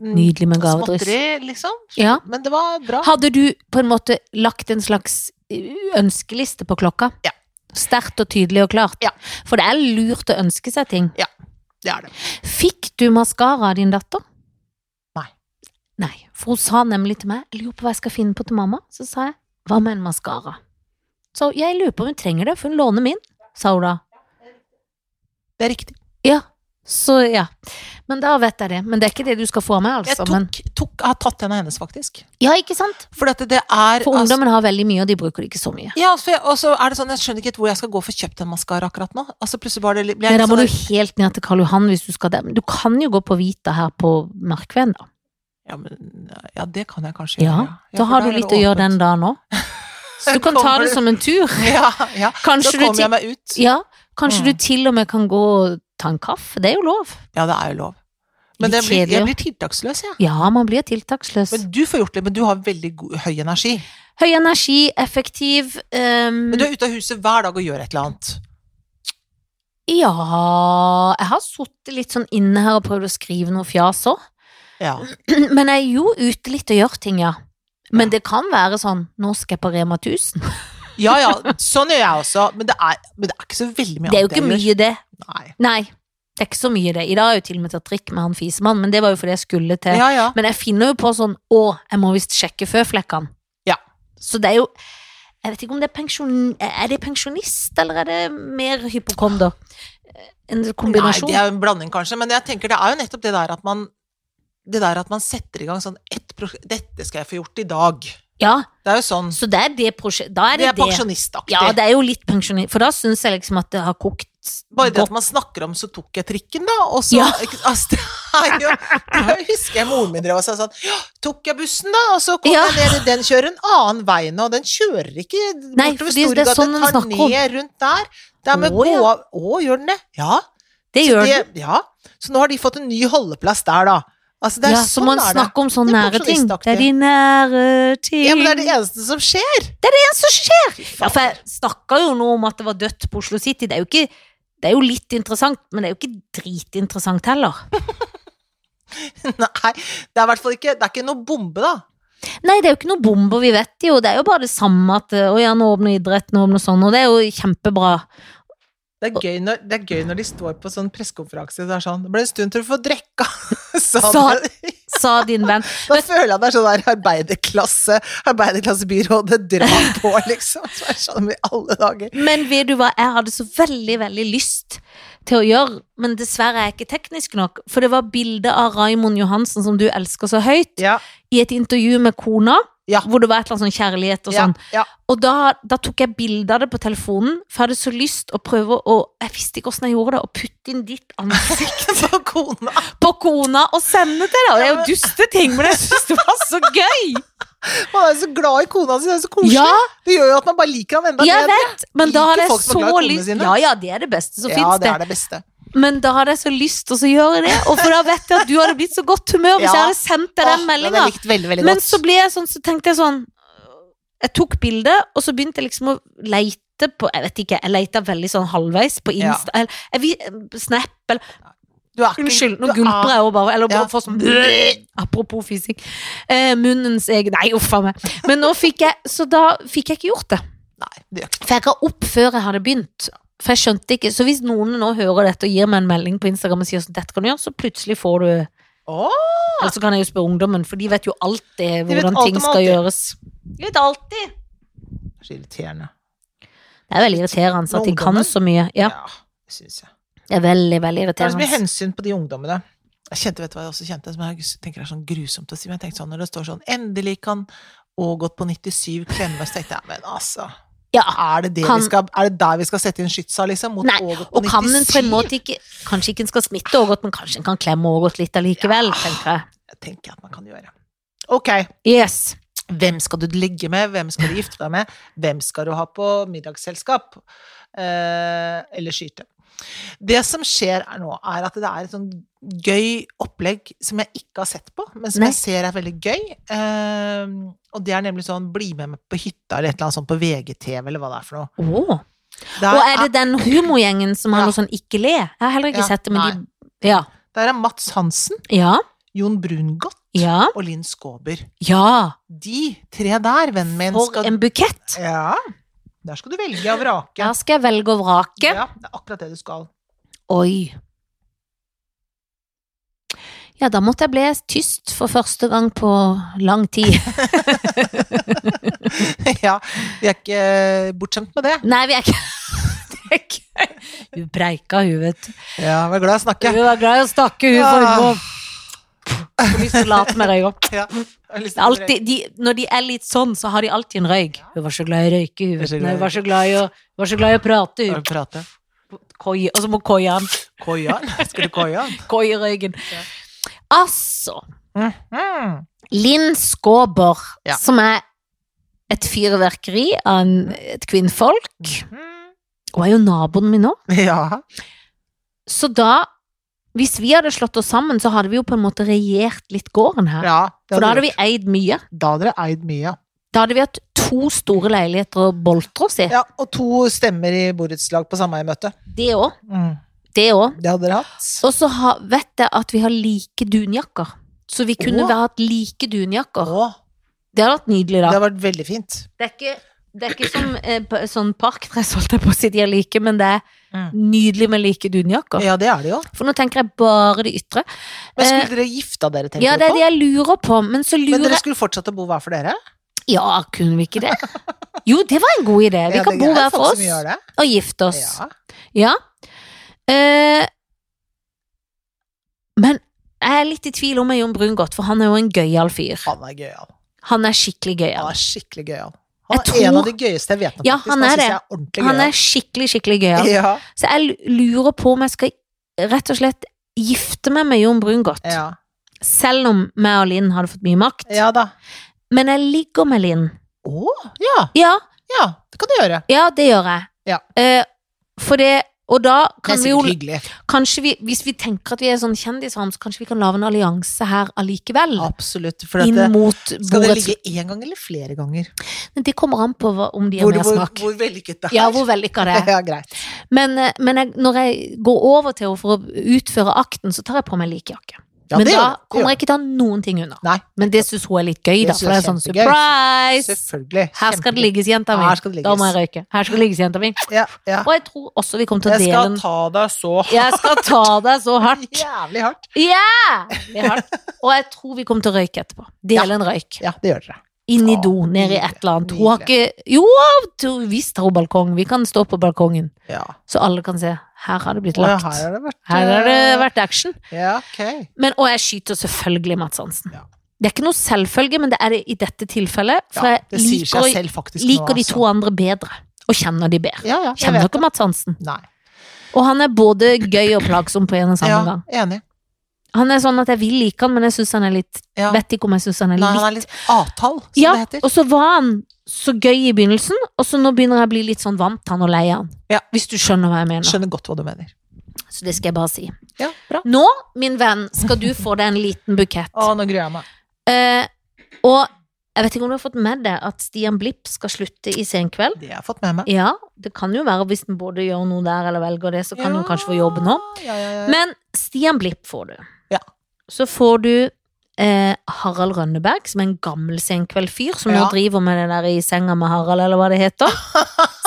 B: Mm,
A: Nydelig med gavedryss.
B: Småtteri, liksom.
A: Ja.
B: Men det var bra.
A: Hadde du på en måte lagt en slags eh, ønskeliste på klokka?
B: Ja.
A: Sterkt og tydelig og klart?
B: Ja.
A: For det er lurt å ønske seg ting.
B: Det er det.
A: Fikk du maskara av din datter?
B: Nei.
A: Nei, for hun sa nemlig til meg, jeg lurer på hva jeg skal finne på til mamma. Så sa jeg, hva med en maskara? Så jeg lurer på om hun trenger det, for hun låner min, sa hun da.
B: Det er riktig.
A: Ja, så ja. Men da vet jeg det. Men det er ikke det du skal få av meg,
B: Jeg
A: altså. Men,
B: tok, tok, jeg har tatt en av hennes, faktisk.
A: ja, ikke sant?
B: For at det er
A: For
B: altså-
A: ungdommen har veldig mye, og de bruker det ikke så mye.
B: Ja, altså, for jeg, og så er det sånn, jeg skjønner ikke helt hvor jeg skal gå for å kjøpe den maskara akkurat nå. Altså plutselig bare det litt- blir jeg
A: Men da
B: litt
A: må du
B: sånn,
A: helt ned til Karl Johan hvis du skal det. Men du kan jo gå på Vita her på Markveien, da.
B: ja, men, ja, det kan jeg kanskje
A: Ja,
B: gjøre.
A: Da har du litt å gjøre den dagen
B: [laughs]
A: òg. Så du kan ta
B: Kommer
A: det
B: du-
A: som en tur.
B: Ja, ja. [laughs] Da
A: Kanskje du
B: kommer jeg
A: til,
B: meg ut.
A: ja, kanskje
B: Mm.
A: du til og med kan gå og ta en kaffe. Det er jo lov.
B: Ja, det er jo lov. Men
A: Litt
B: det blir,
A: kjedelig,
B: jeg
A: jo.
B: blir tiltaksløs, jeg.
A: Ja, man blir tiltaksløs.
B: Men du får gjort det, men du har veldig god, høy energi.
A: Høy energi, effektiv ehm,
B: Men du er ute av huset hver dag og gjør et eller annet.
A: Ja Jeg har sittet litt sånn inne her og prøvd å skrive noe fjas òg.
B: Ja.
A: [clears throat] Men jeg er jo ute litt og gjør ting, ja. Men det kan være sånn Nå skal jeg på Rema 1000.
B: ja, ja, sånn gjør jeg også, men det er, men det er ikke så veldig mye
A: Det er jo
B: annet jeg
A: ikke
B: gjør.
A: mye, det.
B: Nei.
A: Nei. Det er ikke så mye, det. I dag har jeg jo til og med tatt trikk med han fisemannen, men det var jo fordi jeg skulle til
B: Ja, ja.
A: Men jeg finner jo på sånn Å, jeg må visst sjekke føflekkene.
B: Ja.
A: Så det er jo Jeg vet ikke om det er pensjon... Er det pensjonist, eller er det mer hypokonder? En kombinasjon?
B: Nei, det er en blanding kanskje, men jeg tenker det er jo nettopp det der at man det der at man setter i gang sånn ett prosjekt, 'Dette skal jeg få gjort i dag'.
A: Ja,
B: Det er jo sånn.
A: så det er det prosjektet Da er
B: Det
A: det
B: er
A: det.
B: pensjonistaktig.
A: ja, det er jo litt pensjonist, for da syns jeg liksom at det har kokt
B: Bare det at
A: godt.
B: man snakker om 'så tok jeg trikken', da, og så
A: Ja.
B: ikke, altså, [laughs] det er jo, Jeg husker jeg moren min drev og sa sånn 'Ja, tok jeg bussen, da?' Og så kom
A: Ja.
B: jeg ned, den kjører en annen vei nå, den kjører ikke
A: Nei,
B: bortover
A: fordi det er
B: Storgata,
A: sånn
B: den
A: den
B: tar
A: snakker om.
B: ned rundt der. Det er med
A: Å,
B: å,
A: ja.
B: gå av Å, gjør den det? Ja.
A: Det
B: Så
A: gjør det.
B: det- Ja. Så nå har de fått en ny holdeplass der, da. Altså, det er
A: ja, så
B: sånn
A: man
B: er det.
A: snakker om sånne
B: Det er
A: nære ting. Det
B: pensjonistaktig.
A: er de nære ting.
B: Ja, men det er det eneste som skjer. [laughs]
A: det er det som skjer! Ja, for jeg snakka jo nå om at det var dødt på Oslo City. Det er jo ikke det er jo litt interessant, men det er jo ikke dritinteressant heller.
B: Nei, det er i hvert fall ikke Det er ikke noe bombe, da.
A: Nei, det er jo ikke noe bomber, vi vet det jo. Det er jo bare det samme at eh, Å ja, nå åpner idretten, nå åpner sånn, og det er jo kjempebra.
B: Det er gøy når, det er gøy når de står på sånn pressekonferanse og det er sånn Det ble en stund til du får [laughs] drekka. Sånn.
A: Sa- Sa din venn.
B: Da [laughs] føler jeg det er sånn der arbeiderklasse Arbeiderklassebyrådet drar på, liksom. Så er det sånn i alle dager.
A: Men vet du hva, jeg hadde så veldig, veldig lyst til å gjøre, men dessverre er jeg ikke teknisk nok. For det var bilde av Raimond Johansen, som du elsker så høyt,
B: Ja.
A: i et intervju med kona,
B: Ja.
A: hvor det var et eller annet sånn kjærlighet og sånn.
B: Ja, [laughs] ja.
A: Og da, da tok jeg bilde av det på telefonen, for jeg hadde så lyst å prøve å Jeg visste ikke åssen jeg gjorde det, å putte inn ditt ansikt
B: [laughs] For kona.
A: på kona og sende til deg. Og det er jo duste ting, men jeg syns det var så gøy!
B: Man er så glad i kona si, det er så koselig.
A: Ja.
B: Det gjør jo at man bare liker han enda
A: Jeg
B: bedre.
A: vet, men da
B: Liker
A: hadde jeg
B: folk som er
A: så
B: glad i konene
A: lyst
B: sine?
A: Ja, ja, det er det beste som
B: ja,
A: fins,
B: det
A: det.
B: er det beste.
A: Men da hadde jeg så lyst til å gjøre det, og for da vet jeg at du hadde blitt så godt humør hvis
B: Ja.
A: jeg hadde sendt deg den
B: Åh, den
A: meldinga.
B: er likt veldig, veldig
A: Men
B: godt.
A: så ble jeg sånn, så tenkte jeg sånn Jeg tok bildet, og så begynte jeg liksom å leite på Jeg vet ikke, jeg leita veldig sånn halvveis på
B: Ja.
A: Insta eller jeg, vi- Snap eller
B: Du er ikke-
A: Unnskyld, nå
B: du er-
A: gulper jeg òg bare. Eller bare
B: Ja.
A: får sånn Apropos fysikk. Eh, munnens egen Nei, uff a meg. Men nå fikk jeg Så da fikk jeg ikke gjort det.
B: Nei, det gjør ikke
A: For jeg ga opp før jeg hadde begynt. For jeg skjønte ikke Så hvis noen nå hører dette og gir meg en melding på Instagram og sier sånn, dette kan du gjøre, så plutselig får du
B: Åh,
A: Eller så kan jeg jo spørre ungdommen, for de vet jo alltid
B: vet
A: hvordan
B: alt
A: ting
B: om
A: skal
B: alltid.
A: gjøres. De vet alltid.
B: det er så irriterende.
A: Det er veldig irriterende at de kan
B: Ungdommen?
A: så mye. Ja,
B: det synes jeg.
A: det er veldig, veldig
B: Det er så mye
A: irriterende.
B: hensyn på de ungdommene. Jeg kjente, vet du hva jeg også kjente, som jeg tenker er sånn grusomt å si, men jeg tenkte sånn, når det står sånn, endelig kan Ågot på 97 klemme meg, så tenkte jeg, men altså,
A: Ja,
B: er det, det
A: Kan-
B: vi skal, er det der vi skal sette inn skytsa, liksom, mot
A: Nei,
B: Ågot på
A: og kan en på en
B: 97?
A: måte ikke Kanskje ikke en skal smitte Ågot, men kanskje en kan klemme Ågot litt allikevel, tenker jeg.
B: Det tenker jeg at man kan gjøre. Ok,
A: Yes.
B: hvem skal du ligge med, hvem skal
A: [laughs]
B: du gifte deg med, hvem skal du ha på middagsselskap, eh, eller skyte. Det som skjer er nå, er at det er et sånn gøy opplegg som jeg ikke har sett på, men som
A: Nei.
B: jeg ser er veldig gøy. Eh, og det er nemlig sånn bli med meg på hytta eller et eller annet sånt på VGTV eller hva det er for noe.
A: Åh.
B: Der
A: Og er det den humorgjengen som har
B: Ja.
A: noe sånn ikke le? Jeg har heller ikke
B: Ja,
A: sett det, men de Ja.
B: der er Mats Hansen,
A: Ja.
B: Jon Brungot
A: Ja.
B: og Linn Skåber.
A: ja.
B: De tre der, vennen min,
A: For en bukett!
B: Ja, der skal du velge og vrake.
A: Her skal jeg velge og vrake.
B: Ja, det er akkurat det du skal.
A: Oi. Ja, da måtte jeg bli tyst for første gang på lang [laughs] tid.
B: [laughs] ja, vi er ikke eh, bortskjemt med det.
A: Nei, vi er ikke [laughs] er gøy. Hun breika hun, vet du.
B: Ja, vær glad i å snakke.
A: Hun var glad i å snakke, hun
B: Ja.
A: formål. Hvor mye salat med [laughs] røyk opp.
B: Ja. Jeg har lyst til å drepe.
A: Altid, de, når de er litt sånn, så har de alltid en røyk. Hun var så glad i å røyke, hun. vet du. Nei, Hun var så glad i å, hun var så glad i å prate,
B: Har
A: hun.
B: du pratet?
A: Koi, og så må koie han.
B: Koian? Skal du [laughs] koian?
A: Koie røyken. Altså,
B: Mhm.
A: Linn Skåber,
B: Ja.
A: som er et fyrverkeri av en, et kvinnfolk,
B: Mhm.
A: hun er jo naboen min nå.
B: Ja.
A: Så da, hvis vi hadde slått oss sammen, så hadde vi jo på en måte regjert litt gården her.
B: ja det
A: For da
B: hadde
A: hadde vi eid mye.
B: gjort. da hadde dere eid mye.
A: Da hadde vi hatt to store leiligheter å boltre oss i.
B: Ja, og to stemmer i borettslag på sameiemøte.
A: Det òg.
B: Mm.
A: Det òg.
B: Det hadde dere hatt.
A: Og så ha- vet jeg at vi har like dunjakker. Så vi kunne
B: Åh.
A: vel hatt like dunjakker.
B: Å,
A: Det hadde vært nydelig,
B: det
A: da.
B: hadde vært veldig fint.
A: Det er ikke, det er ikke som eh, p- sånn parkdress, holdt [laughs] jeg på å si, de er like, men det er nydelig med like dunjakker.
B: Mm. Ja, det er det jo.
A: For nå tenker jeg bare det ytre.
B: Men
A: Eh,
B: skulle dere gifta dere, tenker
A: Ja,
B: du
A: det er
B: på?
A: det jeg lurer på, men så
B: Men
A: lurer
B: dere
A: jeg
B: skulle fortsatt å bo hver for dere?
A: Ja, kunne vi ikke det? Jo, det var en god idé. Vi
B: Ja,
A: kan
B: det
A: bo
B: er
A: hver
B: folk
A: for
B: som gjør
A: oss
B: det.
A: og gifte oss.
B: Ja.
A: Ja. Eh, men jeg er litt i tvil om jeg er Jon Brungot, for han er jo en gøyal fyr.
B: Han er gøyal.
A: Han er skikkelig
B: Han
A: gøyal.
B: er skikkelig gøyal. Han er
A: Jeg tror-
B: en av de gøyeste jeg vet om,
A: Ja,
B: faktisk.
A: han er
B: synes
A: det.
B: jeg er ordentlig
A: Han
B: gøyal.
A: er skikkelig, skikkelig gøyal.
B: Ja,
A: Så jeg lurer på om jeg skal rett og slett gifte meg med Jon Brungot.
B: ja.
A: Selv om meg og Linn hadde fått mye makt.
B: ja da.
A: Men jeg ligger med Linn.
B: Å, ja.
A: Ja,
B: Ja, det kan du gjøre.
A: ja det gjør jeg.
B: Ja.
A: Eh, for det Og da
B: Det
A: kan
B: er
A: vi jo
B: sikkert hyggelig.
A: Kanskje vi, Hvis vi tenker at vi er sånn kjendisvarme, så kanskje vi kan lage en allianse her allikevel.
B: Absolutt. For at
A: inn
B: det,
A: mot
B: skal det
A: bordet.
B: ligge én gang eller flere ganger?
A: Men det kommer an på hva, om de har
B: Hvor, hvor,
A: mersmak.
B: hvor vellykket det er.
A: Ja, hvor vellykka det er.
B: [laughs] ja, greit.
A: Men, eh, men jeg, når jeg går over til henne for å utføre akten, så tar jeg på meg likejakke.
B: Ja,
A: men
B: det
A: da
B: gjør det. Det
A: kommer
B: gjør
A: jeg ikke til å ha noen ting under.
B: Nei.
A: Men det syns hun er litt gøy,
B: Det
A: da.
B: synes
A: For det er
B: jeg er
A: sånn
B: kjempegøy.
A: surprise!
B: Selvfølgelig.
A: Her skal det
B: Kjempegøy.
A: ligges, jenta mi.
B: Her skal det
A: Da må jeg
B: ligges.
A: røyke. Her skal det ligges, jenta mi.
B: Ja, ja.
A: Og jeg tror også vi kommer til å
B: Jeg
A: dele
B: skal
A: den.
B: ta deg så
A: Jeg skal ta deg så [laughs] hardt.
B: [laughs] jævlig hardt.
A: Ja! Det er hardt. Og jeg tror vi kommer til å røyke etterpå. Dele en røyk.
B: Ja, det gjør dere.
A: Inn i
B: Å,
A: do, ned i
B: nydelig,
A: et eller annet. Hun har ikke Jo, du- visst har hun balkong. Vi kan stå på balkongen,
B: Ja.
A: så alle kan se. Her har det blitt
B: Og
A: lagt.
B: her har det vært eh,
A: Her har det vært action.
B: Ja, ok.
A: Men, og jeg skyter selvfølgelig Mads Hansen.
B: Ja.
A: Det er ikke noe selvfølge, men det er det i dette tilfellet. For
B: Ja,
A: jeg
B: det sier
A: liker,
B: seg
A: å-
B: selv faktisk
A: liker de
B: nå, altså.
A: to andre bedre. Og kjenner de bedre.
B: Ja, ja, jeg
A: Kjenner dere
B: vet det.
A: Mads Hansen?
B: Nei.
A: Og han er både gøy og plagsom på en og samme
B: Ja,
A: gang.
B: enig.
A: Han er sånn at jeg vil like han, men jeg syns han er litt
B: Ja.
A: Vet ikke om jeg syns han er
B: Nei, han
A: litt
B: er litt avtall, som
A: Ja,
B: det heter.
A: og så var han så gøy i begynnelsen, og så nå begynner jeg å bli litt sånn vant til han og lei han.
B: Ja.
A: Hvis du skjønner hva jeg mener.
B: Skjønner godt hva du mener.
A: Så det skal jeg bare si.
B: Ja, bra.
A: Nå, min venn, skal du få deg en liten bukett.
B: Å, nå gruer jeg meg.
A: Eh, og jeg vet ikke om du har fått med deg at Stian Blipp skal slutte i Senkveld.
B: Det har jeg fått med meg.
A: Ja, det kan jo være hvis den både gjør noe der eller velger det, så kan hun kanskje få jobben nå.
B: Ja, ja, ja.
A: Men Stian Blipp får du.
B: Ja.
A: Så får du eh, Harald Rønneberg, som er en gammel senkveldfyr, som nå
B: Ja.
A: driver med det der i senga med Harald, eller hva det heter.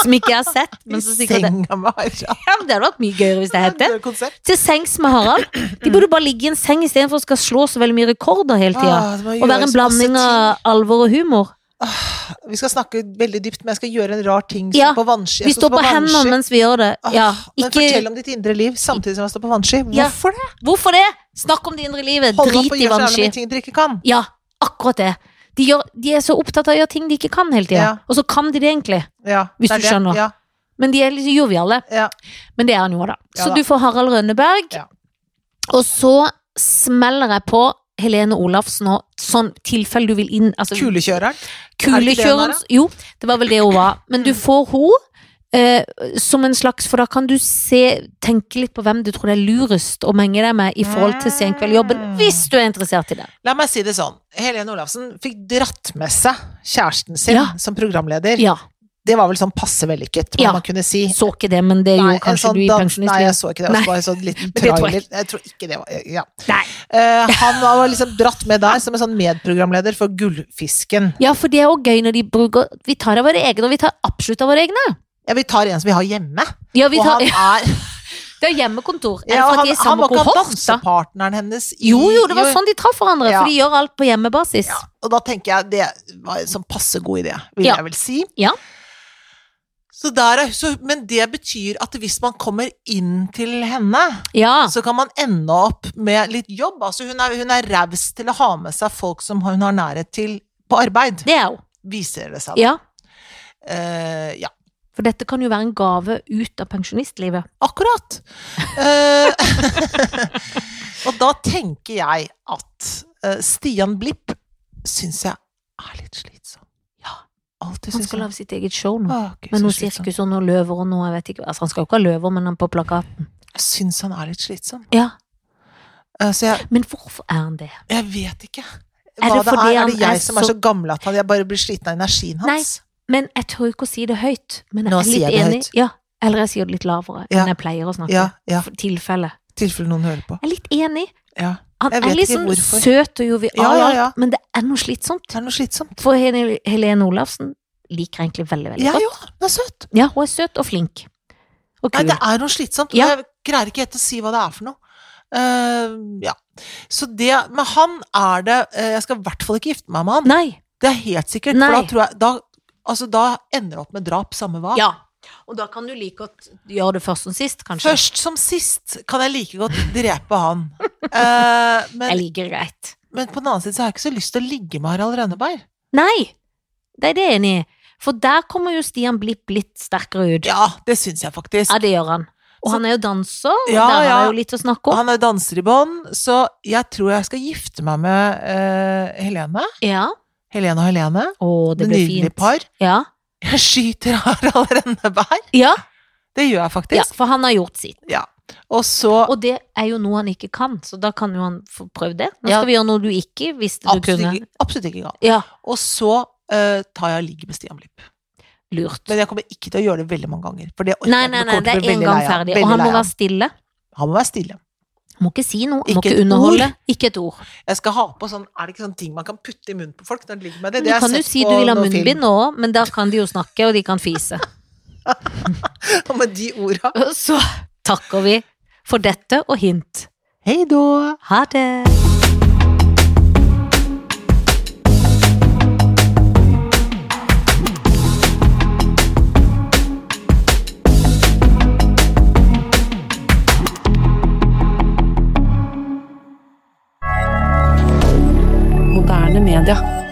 A: Som ikke jeg har
B: [laughs]
A: sett, men som sikkert det.
B: Senga med Harald.
A: Ja, men det hadde vært mye gøyere hvis det het det.
B: er et konsept.
A: Til sengs med Harald. De burde bare ligge i en seng istedenfor å skal slå så veldig mye rekorder hele tida.
B: Ah, det må
A: Og være
B: gjøres
A: en blanding
B: masse ting.
A: av alvor og humor.
B: Vi skal snakke velski dypt, men jeg skal gjøre en rar ting som
A: Ja,
B: på vannski.
A: Vi
B: Jeg skal
A: står
B: stå
A: på hendene
B: vannski.
A: mens vi gjør det.
B: Ah,
A: Ja,
B: Men fortell
A: ikke
B: om ditt indre liv samtidig som jeg står på vannski.
A: Ja.
B: Hvorfor det?
A: Hvorfor det? Snakk om det indre livet.
B: Holde opp
A: Drit
B: og
A: i
B: gjøre så jævlig
A: vannski.
B: mye ting dere ikke kan.
A: Ja, akkurat det. De, gjør, de er så opptatt av å gjøre ting de ikke kan hele tida.
B: Ja.
A: Og så kan de det egentlig.
B: Ja,
A: Hvis
B: det er
A: du
B: det.
A: skjønner.
B: Ja,
A: Men de er litt joviale.
B: ja.
A: Men det er han jo, da.
B: Ja
A: Så
B: da.
A: du får Harald Rønneberg.
B: Ja.
A: Og så smeller jeg på Helene Olafsen og sånn tilfelle du vil inn altså,
B: Kulekjøreren. Er det ikke det hun er,
A: Kulekjørens
B: da?
A: Jo, det var vel det hun var. Men du får hun eh, som en slags For da kan du se, tenke litt på hvem du tror det er lurest å menge deg med i forhold til senkveldjobben,
B: Mm.
A: hvis du er interessert i det.
B: La meg si det sånn. Helene Olafsen fikk dratt med seg kjæresten sin
A: Ja.
B: som programleder.
A: Ja.
B: Det var vel sånn passe vellykket, må
A: Ja.
B: man kunne si.
A: Så ikke det, men det gjorde
B: en
A: kanskje
B: sånn
A: du i
B: dans- Nei,
A: pensjonistlivet.
B: jeg så ikke det. Det
A: Nei.
B: var bare en sånn liten
A: det tror jeg
B: trailer. Jeg, tror ikke det var Ja.
A: Nei.
B: Eh, han var liksom dratt med der som en sånn medprogramleder for Gullfisken.
A: Ja, for det er òg gøy når de bruker Vi tar av våre egne, og vi tar absolutt av våre egne.
B: Ja, vi tar en som vi har hjemme.
A: [laughs] Ja, vi
B: og
A: tar,
B: han er
A: Det er hjemmekontor. Er det
B: ja, og
A: for at
B: han,
A: de er
B: han
A: samme
B: var ikke
A: kohort, da?
B: dansepartneren hennes i
A: Jo, jo, det var sånn de traff hverandre,
B: Ja.
A: for de gjør alt på hjemmebasis.
B: Ja, og da tenker jeg det var en sånn passe god idé, vil
A: Ja.
B: jeg vel si.
A: Ja.
B: Så der er, så, men det betyr at hvis man kommer inn til henne,
A: Ja.
B: så kan man ende opp med litt jobb. Altså hun er, hun er raus til å ha med seg folk som hun har nærhet til på arbeid,
A: Det er hun.
B: viser det seg. da.
A: Ja.
B: Eh, ja.
A: For dette kan jo være en gave ut av pensjonistlivet.
B: Akkurat. Eh, [laughs] og da tenker jeg at eh, Stian Blipp syns jeg er litt slitsom. Ja, alltid
A: Han
B: syns jeg.
A: skal lage sitt eget show nå.
B: Å, Gud,
A: Med
B: så
A: noe
B: slitsom.
A: sirkus og noe løver og noe jeg vet ikke. Altså, han skal jo ikke ha løver, men han på plakaten.
B: Jeg syns han er litt slitsom.
A: Ja.
B: Eh, så jeg,
A: Men hvorfor er han det?
B: jeg vet ikke.
A: det
B: Hva det,
A: fordi
B: er.
A: han
B: Er det jeg
A: er
B: som er
A: så-
B: så gammel at han, jeg bare blir sliten av energien hans?
A: Men jeg tør jo ikke å si det høyt. Men jeg
B: Nå
A: er
B: sier
A: litt
B: jeg det
A: enig.
B: høyt.
A: Ja. Eller jeg sier det litt lavere
B: Ja.
A: enn jeg pleier å snakke.
B: Ja, ja.
A: For tilfelle.
B: I tilfelle noen hører på.
A: Jeg er litt enig.
B: Ja.
A: Han
B: Jeg
A: er
B: vet
A: litt
B: ikke
A: sånn
B: hvorfor.
A: søt og jovial,
B: Ja, ja, ja.
A: men det er noe slitsomt.
B: Det er noe slitsomt.
A: For Hel- Helene Olafsen liker jeg egentlig veldig, veldig
B: Jeg
A: godt.
B: jo, han er søt.
A: Ja, hun er søt og flink. Og
B: Nei,
A: kul.
B: det er noe slitsomt. og
A: Ja.
B: Jeg greier ikke helt å si hva det er for noe. Eh, ja. Så det Med han er det eh, Jeg skal i hvert fall ikke gifte meg med han.
A: Nei.
B: Det er helt sikkert.
A: Nei.
B: For da tror jeg da, altså, da ender det opp med drap, samme hva.
A: Ja. Og da kan du like godt gjøre det først som sist, kanskje.
B: Først som sist kan jeg like godt
A: [laughs]
B: drepe han. Eh,
A: Jeg
B: men,
A: liker greit.
B: men på den annen side så har jeg ikke så lyst til å ligge med Harald Rønneberg.
A: Nei! Det er det jeg er enig i. For der kommer jo Stian Blipp litt sterkere ut.
B: Ja, det syns jeg faktisk.
A: Ja, det gjør han. Og
B: Så-
A: han er jo danser, og
B: Ja,
A: der har
B: ja.
A: jeg jo litt å snakke om.
B: Han er danser i bånd, så jeg tror jeg skal gifte meg med eh, Helene.
A: Ja.
B: Helene og Helene.
A: Å, det blir
B: Nydelig
A: fint.
B: par.
A: Ja.
B: Jeg skyter Harald Rønneberg.
A: Ja.
B: Det gjør jeg
A: ja,
B: faktisk.
A: for han har gjort sitt.
B: Og så
A: Og det er jo noe han ikke kan, så da kan jo han få prøve det. Nå
B: Ja.
A: skal vi gjøre noe du ikke visste du
B: absolutt
A: kunne.
B: ikke, absolutt ikke galt.
A: Ja,
B: Og så eh, tar jeg ligget med Stian Blipp.
A: lurt.
B: Men jeg kommer ikke til å gjøre det veldig mange ganger. For det orker
A: Nei,
B: jeg ikke.
A: nei,
B: Da
A: nei,
B: kommer
A: det
B: jeg
A: er
B: til å bli
A: en
B: veldig
A: gang
B: lei av-
A: ferdig.
B: veldig
A: Og han
B: lei
A: må
B: av.
A: være stille.
B: han må være stille.
A: Han må ikke si noe, han må
B: Ikke
A: ikke
B: et
A: underholde. Ikke et ord.
B: Jeg skal ha på sånn Er det ikke sånn ting man kan putte i munnen på folk når de ligger med
A: Men
B: det? Det
A: Du
B: har jeg
A: kan jo
B: sett
A: si
B: på
A: du vil ha
B: noen film.
A: munnbind nå òg, men da kan de jo snakke, og de kan fise.
B: Og [laughs] med de orda.
A: Og så takker vi for dette og hint.
B: Hei då!
A: Ha det!
C: moderne media.